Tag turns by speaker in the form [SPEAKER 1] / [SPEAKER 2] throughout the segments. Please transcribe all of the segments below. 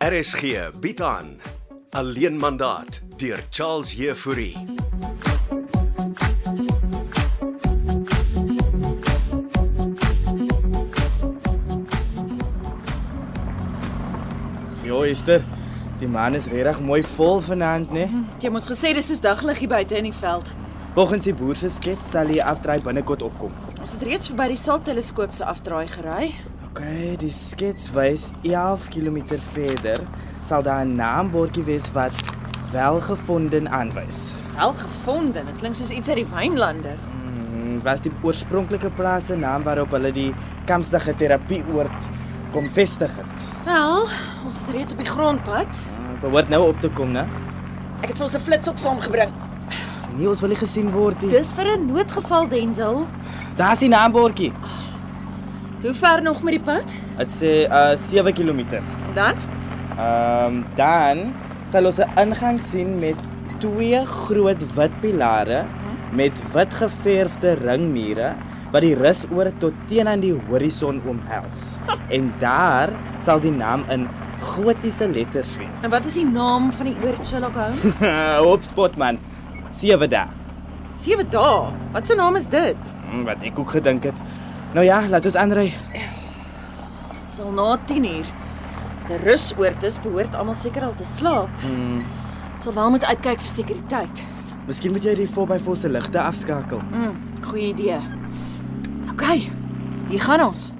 [SPEAKER 1] RSG bied aan Alleen mandaat deur Charles Heffouri.
[SPEAKER 2] Jo, Ja, Esther, die man is regtig mooi vol vanaand, né?
[SPEAKER 3] Jy moes gesê dis soos daglig hier buite in die veld.
[SPEAKER 2] Volgens die boer se skets sal hy afdraai binnekort opkom.
[SPEAKER 3] Ons het reeds verby die sailteleskoop se afdraai gery.
[SPEAKER 2] OK, die skets wys 11 km verder sal daar 'n naambordjie wees wat welgevonden aanwys.
[SPEAKER 3] Wel gevonden. Dit klink soos iets uit die wynlande.
[SPEAKER 2] Hmm, was die oorspronklike plaas se naam waarop hulle die Kampsdag terapieoord kom vestig het.
[SPEAKER 3] Wel, ons is reeds op die grondpad.
[SPEAKER 2] Ah, Behoort nou op te kom, né?
[SPEAKER 3] Ek het vir ons 'n flits ook saamgebring.
[SPEAKER 2] Nee, ons wil nie gesien word nie.
[SPEAKER 3] Dis vir 'n noodgeval, Denzel.
[SPEAKER 2] Daar's die naambordjie.
[SPEAKER 3] Hoe ver nog met die pad?
[SPEAKER 2] Dit sê uh 7 km.
[SPEAKER 3] En dan?
[SPEAKER 2] Ehm um, dan sal ons 'n ingang sien met twee groot wit pilare met wit geverfde ringmure wat die rus oor tot teen aan die horison omhels. En daar sal die naam in gotiese letters wees.
[SPEAKER 3] En wat is die naam van die oord Sherlock Holmes?
[SPEAKER 2] op spot man. Sewe dae.
[SPEAKER 3] Sewe dae. Wat se naam is dit?
[SPEAKER 2] Hmm, wat ek ook gedink het. Nou ja, laat ons aanry.
[SPEAKER 3] Sal na 10uur. As dit rusoord is, behoort almal seker al te slaap.
[SPEAKER 2] Hmm,
[SPEAKER 3] Sal wel moet uitkyk vir sekuriteit.
[SPEAKER 2] miskien moet jy die 4x4 se ligte afskakel.
[SPEAKER 3] Mm, goeie idee. OK. Hier gaan ons.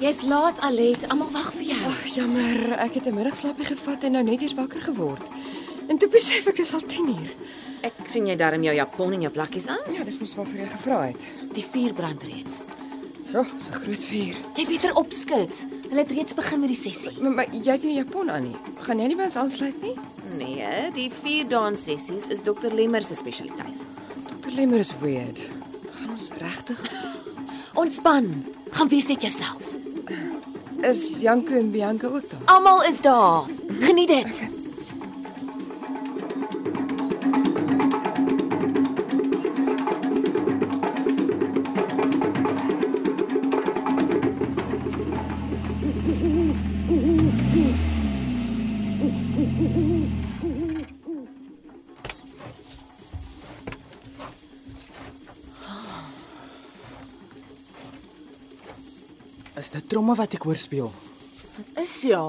[SPEAKER 4] Jy's laat, Alet. Almal wag vir jou.
[SPEAKER 5] Ag, jammer, ek het 'n middagslaapie gevat en nou net eers wakker geword. En toe besef ek dis al 10uur.
[SPEAKER 4] Ek sien jy darm jou japon en jou plakkies aan.
[SPEAKER 5] Ja, dis mos waarvoor jy gevra het.
[SPEAKER 4] Die vuur brand reeds.
[SPEAKER 5] Ja, dis 'n groot vuur.
[SPEAKER 4] Jy beter opskit. Hulle het reeds begin met die sessie.
[SPEAKER 5] Maar, maar jy het nie 'n Japon aan nie. Gaan jy nie by ons aansluit nie?
[SPEAKER 4] Nee, die vuur dans sessies is dokter Lemmer se spesialiteit.
[SPEAKER 5] Dokter Lemmer is weird. Gaan ons regtig?
[SPEAKER 4] Ontspan. Gaan wees net jouself.
[SPEAKER 5] Is Janko en Bianca ook daar?
[SPEAKER 4] Almal is daar. Geniet dit.
[SPEAKER 2] Ah, Is dit tromme wat ek hoor speel?
[SPEAKER 3] Dit is ja.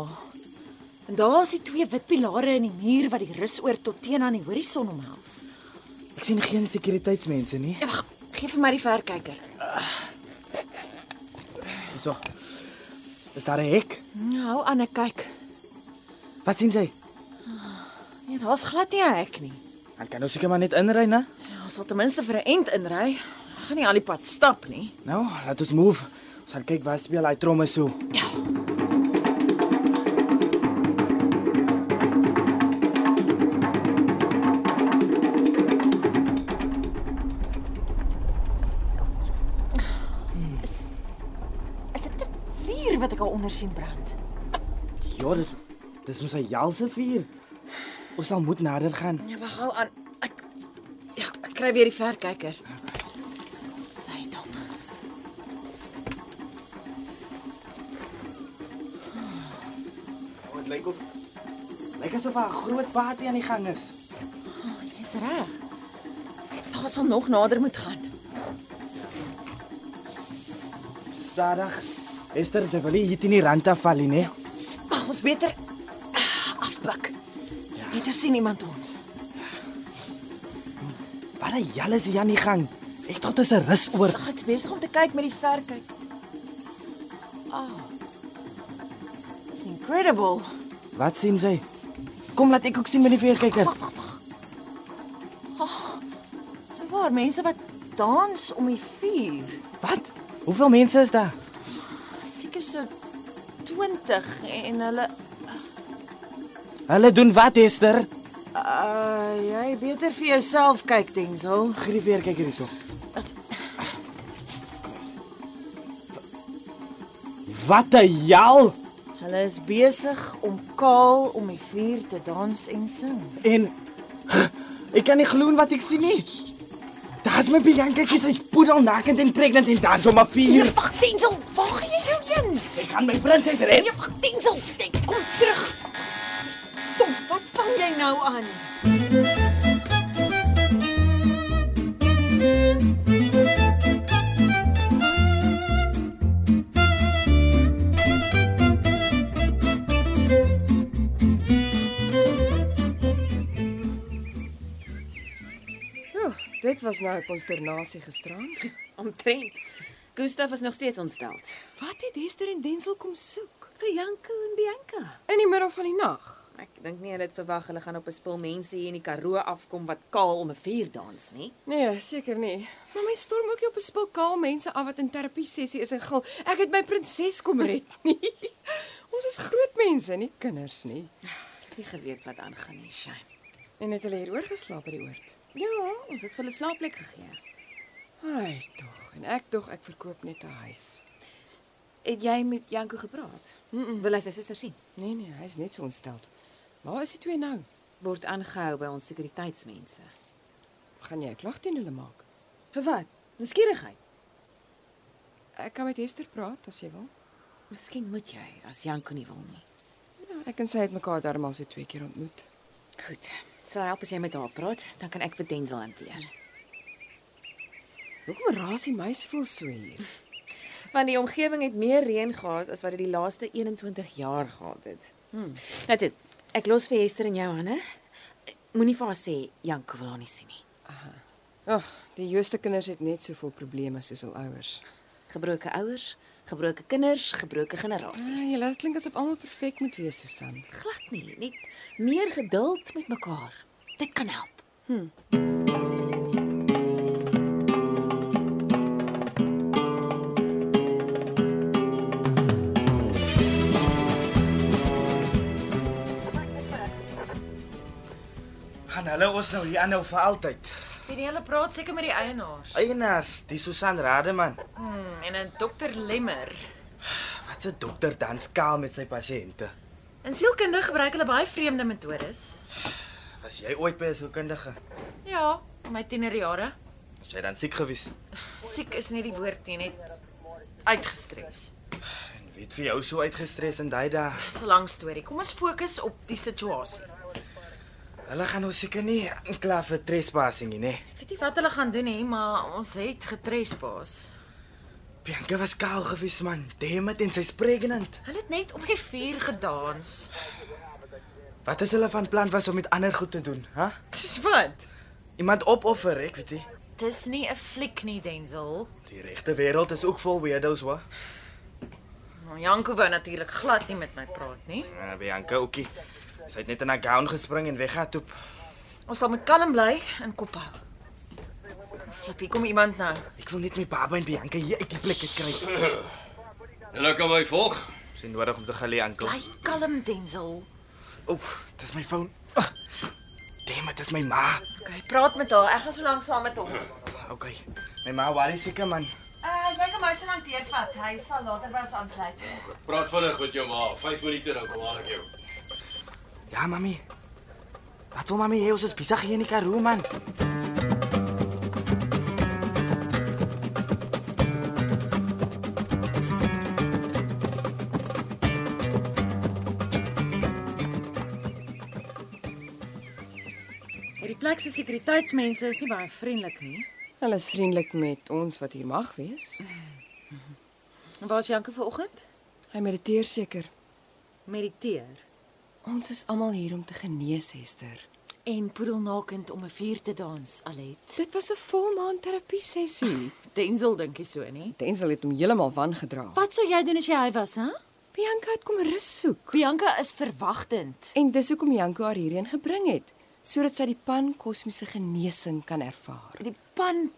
[SPEAKER 3] En daar is die twee wit pilare in die muur wat die rusoord tot teen aan die horison omhels.
[SPEAKER 2] Ek sien geen sekuriteitsmense nie.
[SPEAKER 3] Ja, Wag, gee vir my die verkyker.
[SPEAKER 2] Hyso. Is daar 'n hek?
[SPEAKER 3] Nou, Anne, kyk.
[SPEAKER 2] Wat sien jy?
[SPEAKER 3] Nee, daar's glad nie 'n hek nie.
[SPEAKER 2] Dan kan ons seker maar net inry, né?
[SPEAKER 3] Ja, ons sal ten minste vir 'n end inry. Ek gaan nie al die pad stap nie.
[SPEAKER 2] Nou, laat ons move. Ons gaan kyk waar speel hy tromme so.
[SPEAKER 3] Is dit 'n vuur wat ek al onder sien brand?
[SPEAKER 2] Ja, dis dis mos 'n jalse vuur. Ons sal moet nader gaan.
[SPEAKER 3] Ja, wag gou aan. Ek Ja, ek kry weer die verkyker. Sy het hom.
[SPEAKER 2] Dit lyk of lyk asof daar 'n groot party aan die gang is.
[SPEAKER 3] Oh, Jy's reg. Wag, Ons sal nog nader moet gaan.
[SPEAKER 2] Stadig. Esther, jy wil nie hier teen die rand afval nie, né?
[SPEAKER 3] Mag ons beter ah, afbuk. Ja. Net as sien iemand ons.
[SPEAKER 2] Wat 'n jal is hier aan die gang. Ek dink dit is 'n rus oor.
[SPEAKER 3] Ag, ek's besig om te kyk met die verkyk. Ah. Oh. Dis incredible.
[SPEAKER 2] Wat sien jy? Kom laat ek ook sien met die verkyker.
[SPEAKER 3] Wag, wag, wag. Oh, so waar mense wat dans om die vuur.
[SPEAKER 2] Wat? Hoeveel mense is daar?
[SPEAKER 3] Seker so 20 en hulle
[SPEAKER 2] Hulle doen wat, Esther?
[SPEAKER 3] uh jy beter vir jouself kyk, Denzel.
[SPEAKER 2] Grie verkyker hierso.
[SPEAKER 3] As-
[SPEAKER 2] Wat 'n jal!
[SPEAKER 3] Hulle is besig om kaal om die vuur te dans en sing.
[SPEAKER 2] En ek kan nie glo wat ek sien nie. Daar's my Bianca kies hy's poedelnakend en pregnant en dans om 'n vuur.
[SPEAKER 4] Wag, Denzel, waar jy jou heen?
[SPEAKER 2] Ek gaan my prinses red.
[SPEAKER 4] Wag, Denzel, ek kom terug.
[SPEAKER 3] Tom, wat vang jy nou aan?
[SPEAKER 5] Oeh, dit was nou 'n konsternasie gisterand.
[SPEAKER 4] Omtrent. Gustaf is nog steeds ontsteld.
[SPEAKER 5] Wat het Hester en Denzel kom soek
[SPEAKER 4] Vir Janko en Bianca.
[SPEAKER 5] in die middel van die nag?
[SPEAKER 4] Ek dink nie hulle het verwag hulle gaan op 'n spul mense hier in die Karoo afkom wat kaal om 'n vuur dans nie.
[SPEAKER 5] Nee, seker nie. Maar my storm ook nie op 'n spul kaal mense af wat in terapie sessie is en gil. Ek het my prinses kom red nie. Ons is groot mense, nie kinders nie.
[SPEAKER 4] Ek het nie geweet wat aangaan nie, shame.
[SPEAKER 5] En het hulle hier oorgeslaap by die oord.
[SPEAKER 4] Ja, ons het vir hulle slaapplek gegee.
[SPEAKER 5] Ai, tog. En ek tog ek verkoop net 'n huis.
[SPEAKER 4] Het jy met Janko gepraat? Mm -mm. Wil hy sy suster sien?
[SPEAKER 5] Nee nee, hy's net so ontsteld. Waar is die twee nou?
[SPEAKER 4] Word aangehou by ons sekuriteitsmense.
[SPEAKER 5] Gaan jy 'n klag teen hulle maak?
[SPEAKER 4] Vir wat? Nuuskierigheid.
[SPEAKER 5] Ek kan met Hester praat as jy wil.
[SPEAKER 4] Miskien moet jy as Janko nie wil nie.
[SPEAKER 5] Ja, ek en sy het mekaar darm al so twee keer ontmoet.
[SPEAKER 4] Goed. Sal help as jy met haar praat, dan kan ek vir Denzel hanteer.
[SPEAKER 5] Hoekom raas die meisie voel so hier?
[SPEAKER 4] Want die omgewing het meer reën gehad as wat dit die laaste 21 jaar gehad het. Hmm. Nou dit, ek los vir Hester in jou hande. Moenie vir haar sê Janko wil haar nie sien nie.
[SPEAKER 5] Ag, die jongste kinders het net soveel probleme soos hul ouers.
[SPEAKER 4] Gebroke ouers, gebroke kinders, gebroke
[SPEAKER 5] Ah,
[SPEAKER 4] generasies.
[SPEAKER 5] jy laat klink asof almal perfek moet wees, Susan.
[SPEAKER 4] Glad nie, net meer geduld met mekaar. Dit kan help.
[SPEAKER 2] Gaan hulle ons nou hier aanhou vir altyd.
[SPEAKER 6] Hierdie hele praat seker met die eienaars.
[SPEAKER 2] Eienaars, die Susan Rademan.
[SPEAKER 6] Hmm, en 'n dokter Lemmer.
[SPEAKER 2] Wat 'n dokter dans kaal met sy pasiënte.
[SPEAKER 6] In sielkunde gebruik hulle baie vreemde metodes.
[SPEAKER 2] Was jy ooit by 'n sielkundige?
[SPEAKER 6] Ja, in my tienerjare.
[SPEAKER 2] Was jy dan siek gewees?
[SPEAKER 6] Siek is nie die woord nie, net uitgestres.
[SPEAKER 2] En weet vir jou so uitgestres in daai dae.
[SPEAKER 6] Dis 'n lang storie. Kom ons fokus op die situasie.
[SPEAKER 2] Hulle gaan nou seker nie aankla vir trespassing nie, nee. né?
[SPEAKER 6] Ek weet nie wat hulle gaan doen nie, maar ons het getrespaas.
[SPEAKER 2] Bianca was kaal gewees man. Damn it, en sy's pregnant.
[SPEAKER 6] Hulle het net op die vuur gedans.
[SPEAKER 2] Wat as hulle van plan was om met ander goed te doen, hè?
[SPEAKER 6] Dis wat.
[SPEAKER 2] Iemand opoffer, ek weet nie.
[SPEAKER 6] Dis nie 'n fliek nie, Denzel.
[SPEAKER 2] Die regte wêreld is ook vol weirdos, wa?
[SPEAKER 6] Nou, Janko wou natuurlik glad nie met my praat nie.
[SPEAKER 2] Ja, Bianca, oké. Sy het net in haar gown gespring en weggaan toe.
[SPEAKER 6] Ons sal moet kalm bly en kop hou. Flippie, kom iemand nou.
[SPEAKER 2] Ek wil net my baba en Bianca hier uit die plek uit kry.
[SPEAKER 7] Hulle kan my volg.
[SPEAKER 2] Sy nodig om te gaan lê, oom.
[SPEAKER 6] Bly kalm, Denzel.
[SPEAKER 2] Oef, dis my foon. Ah, Damn, dit is my ma.
[SPEAKER 6] Okay, praat met haar. Ek gaan so lank saam met hom.
[SPEAKER 2] Okay. My ma worry seker man.
[SPEAKER 6] Uh, jy kan my se lank deurvat. Hy sal later by ons aansluit.
[SPEAKER 7] Praat vinnig met jou ma. 5 minute dan kom ek jou.
[SPEAKER 2] Ja, mami. Wat wil mami hê ons is besig hier in die Karoo man?
[SPEAKER 6] Hierdie plek se sekuriteitsmense is nie baie vriendelik nie.
[SPEAKER 5] Hulle is vriendelik met ons wat hier mag wees.
[SPEAKER 6] Waar's Janko vanoggend?
[SPEAKER 5] Hy mediteer seker.
[SPEAKER 6] Mediteer
[SPEAKER 5] Ons is almal hier om te genees, Hester.
[SPEAKER 6] en poedelnakend om 'n vuur te dans, Alet.
[SPEAKER 5] Dit was 'n volmaan terapie sessie.
[SPEAKER 6] Denzel dink jy so nie?
[SPEAKER 5] Denzel het hom heeltemal wangedra.
[SPEAKER 6] Wat sou jy doen as jy hy was, hè?
[SPEAKER 5] Bianca het kom rus soek
[SPEAKER 6] Bianca is verwagtend.
[SPEAKER 5] en dis hoekom Janko haar hierheen gebring het, sodat sy die pan-kosmiese genesing kan ervaar.
[SPEAKER 6] Die pan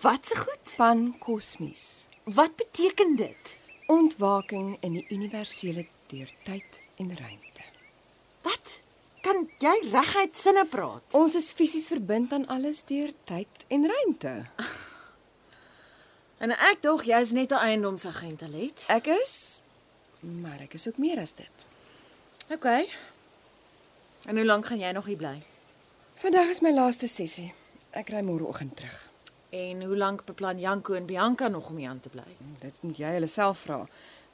[SPEAKER 6] wat se goed?
[SPEAKER 5] Pan-kosmies.
[SPEAKER 6] Wat beteken dit?
[SPEAKER 5] Ontwaking in die universele deur tyd en ruimte.
[SPEAKER 6] Wat? Kan jy reguit sinne praat?
[SPEAKER 5] Ons is fisies verbind aan alles deur tyd en ruimte.
[SPEAKER 6] En ek dog jy's net 'n eiendomsagent, Alet.
[SPEAKER 5] Ek is maar ek is ook meer as dit.
[SPEAKER 6] OK. En hoe lank gaan jy nog hier bly?
[SPEAKER 5] Vandag is my laaste sessie. Ek ry môreoggend terug.
[SPEAKER 6] En hoe lank beplan Janko en Bianca nog om hier aan te bly?
[SPEAKER 5] Dit moet jy hulle self vra.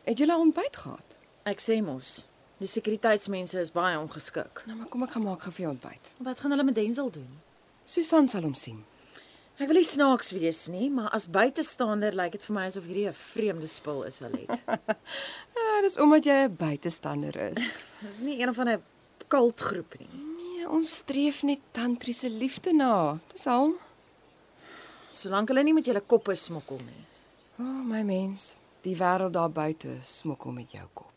[SPEAKER 5] Het julle ontbyt gehad?
[SPEAKER 6] Ek sê mos, die sekuriteitsmense is baie ongeskik.
[SPEAKER 5] Nou maar kom ek gaan maak gou vir jou ontbyt.
[SPEAKER 6] Wat gaan hulle met Denzel doen?
[SPEAKER 5] Susan sal hom sien.
[SPEAKER 6] Ek wil nie snaaks wees nie, maar as buitestander lyk dit vir my asof hierdie 'n vreemde spul is, Alet.
[SPEAKER 5] Ja, dis omdat jy 'n buitestander is.
[SPEAKER 6] Dis nie een van 'n kultgroep nie.
[SPEAKER 5] Nee, ons streef net tantriese liefde na. Dis al.
[SPEAKER 6] Solank hulle nie met julle koppe smokkel nie.
[SPEAKER 5] O, oh, my mens, die wêreld daar buite smokkel met jou kop.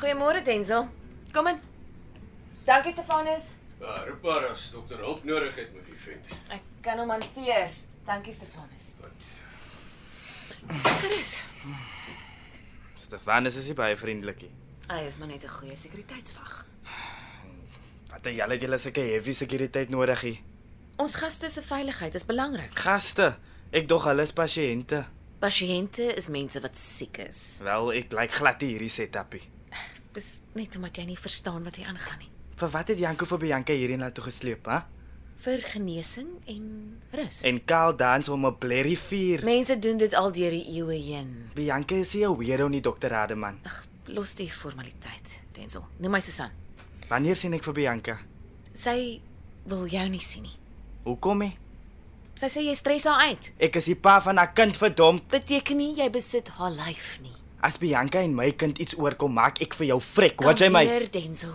[SPEAKER 4] Goeiemôre Denzel. Kom in. Dankie Stefanus.
[SPEAKER 7] Ja, roep maar as dokter hulp nodig het met die vent.
[SPEAKER 4] Ek kan hom hanteer. Dankie Stefanus.
[SPEAKER 7] Wat?
[SPEAKER 4] Sekerus.
[SPEAKER 2] Stefanus is nie baie vriendelik nie.
[SPEAKER 4] Hy is maar net 'n goeie sekuriteitsvag.
[SPEAKER 2] Wat het julle julle sulke heavy sekuriteit nodig hier?
[SPEAKER 4] Ons gaste se veiligheid is belangrik.
[SPEAKER 2] Gaste, ek dog hulle is pasiënte.
[SPEAKER 4] Pasiënte is mense wat siek is.
[SPEAKER 2] Wel, ek lyk glad nie hierdie setupie.
[SPEAKER 4] Dis net omdat jy nie verstaan wat hier aangaan nie.
[SPEAKER 2] Vir wat het Janko vir Bianca hierheen laat toe gesleep, hè?
[SPEAKER 4] Vir genesing en rus.
[SPEAKER 2] En Karl dans om 'n blerrie vuur.
[SPEAKER 4] Mense doen dit al deur die eeue heen.
[SPEAKER 2] Bianca is nie 'n weirdo nie, dokter Rademan.
[SPEAKER 4] Ag, los die formaliteit, Denzel. Noem my Susan.
[SPEAKER 2] Wanneer sien ek vir Bianca?
[SPEAKER 4] Sy wil jou nie sien nie.
[SPEAKER 2] Hoekom nie?
[SPEAKER 4] Sy sê jy stres haar uit.
[SPEAKER 2] Ek is die pa van haar kind, verdomp.
[SPEAKER 4] Beteken nie jy besit haar lyf nie.
[SPEAKER 2] As Bianca en my kind iets oorkom, maak ek vir jou vrek, wat jy my.
[SPEAKER 4] Kalmeer, Denzel.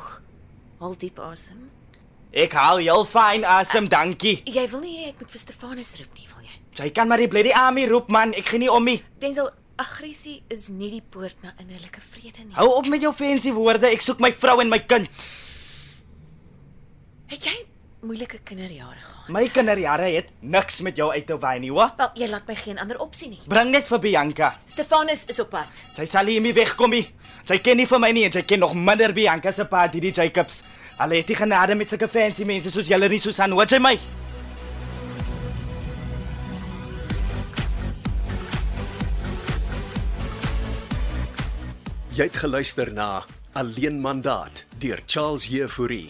[SPEAKER 4] Haal diep asem.
[SPEAKER 2] Ek haal heel fyn asem, dankie.
[SPEAKER 4] Jy wil nie hê ek moet vir Stefanus roep nie, wil jy?
[SPEAKER 2] Jy kan maar die blerrie army roep man, ek gee nie om nie.
[SPEAKER 4] Denzel, aggressie is nie die poort na innerlike vrede nie.
[SPEAKER 2] Hou op met jou fancy woorde, ek soek my vrou en my kind.
[SPEAKER 4] Het jy moeilike kinderjare gehad?
[SPEAKER 2] My kinderjare het niks met jou uit te wy nie, hoor.
[SPEAKER 4] Wel, jy laat my geen ander opsie nie.
[SPEAKER 2] Bring net vir Bianca.
[SPEAKER 4] Stefanus is op pad.
[SPEAKER 2] Sy sal nie meer wegkom nie. Sy ken nie vir my nie en sy ken nog minder Bianca se pa, Didi Jacobs. Hulle het nie genade met sulke fancy mense soos julle nie, Susan, hoor jy my?
[SPEAKER 1] Jy het geluister na Alleen Mandaat deur Charles Jefouri.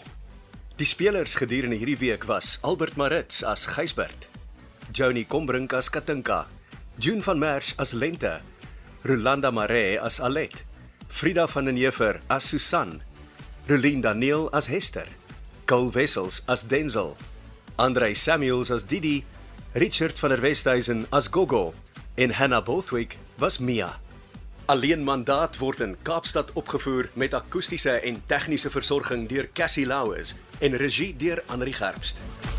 [SPEAKER 1] Die spelers gedurende hierdie week was Albert Maritz as Gysbert, Johnny Combrink as Katinka, June van Merwe as Lente, Rolanda Maree as Alet, Frida van den Heever as Susan, Rolien Daniel as Hester, Cole Wessels as Denzel, Andrei Samuels as Didi, Richard van der Westhuizen as Gogo en Hannah Bothwick was Mia. Alleen mandaat word in Kaapstad opgevoer met akoestiese en tegniese versorging deur Cassie Louws en regie deur Anri Gerbst.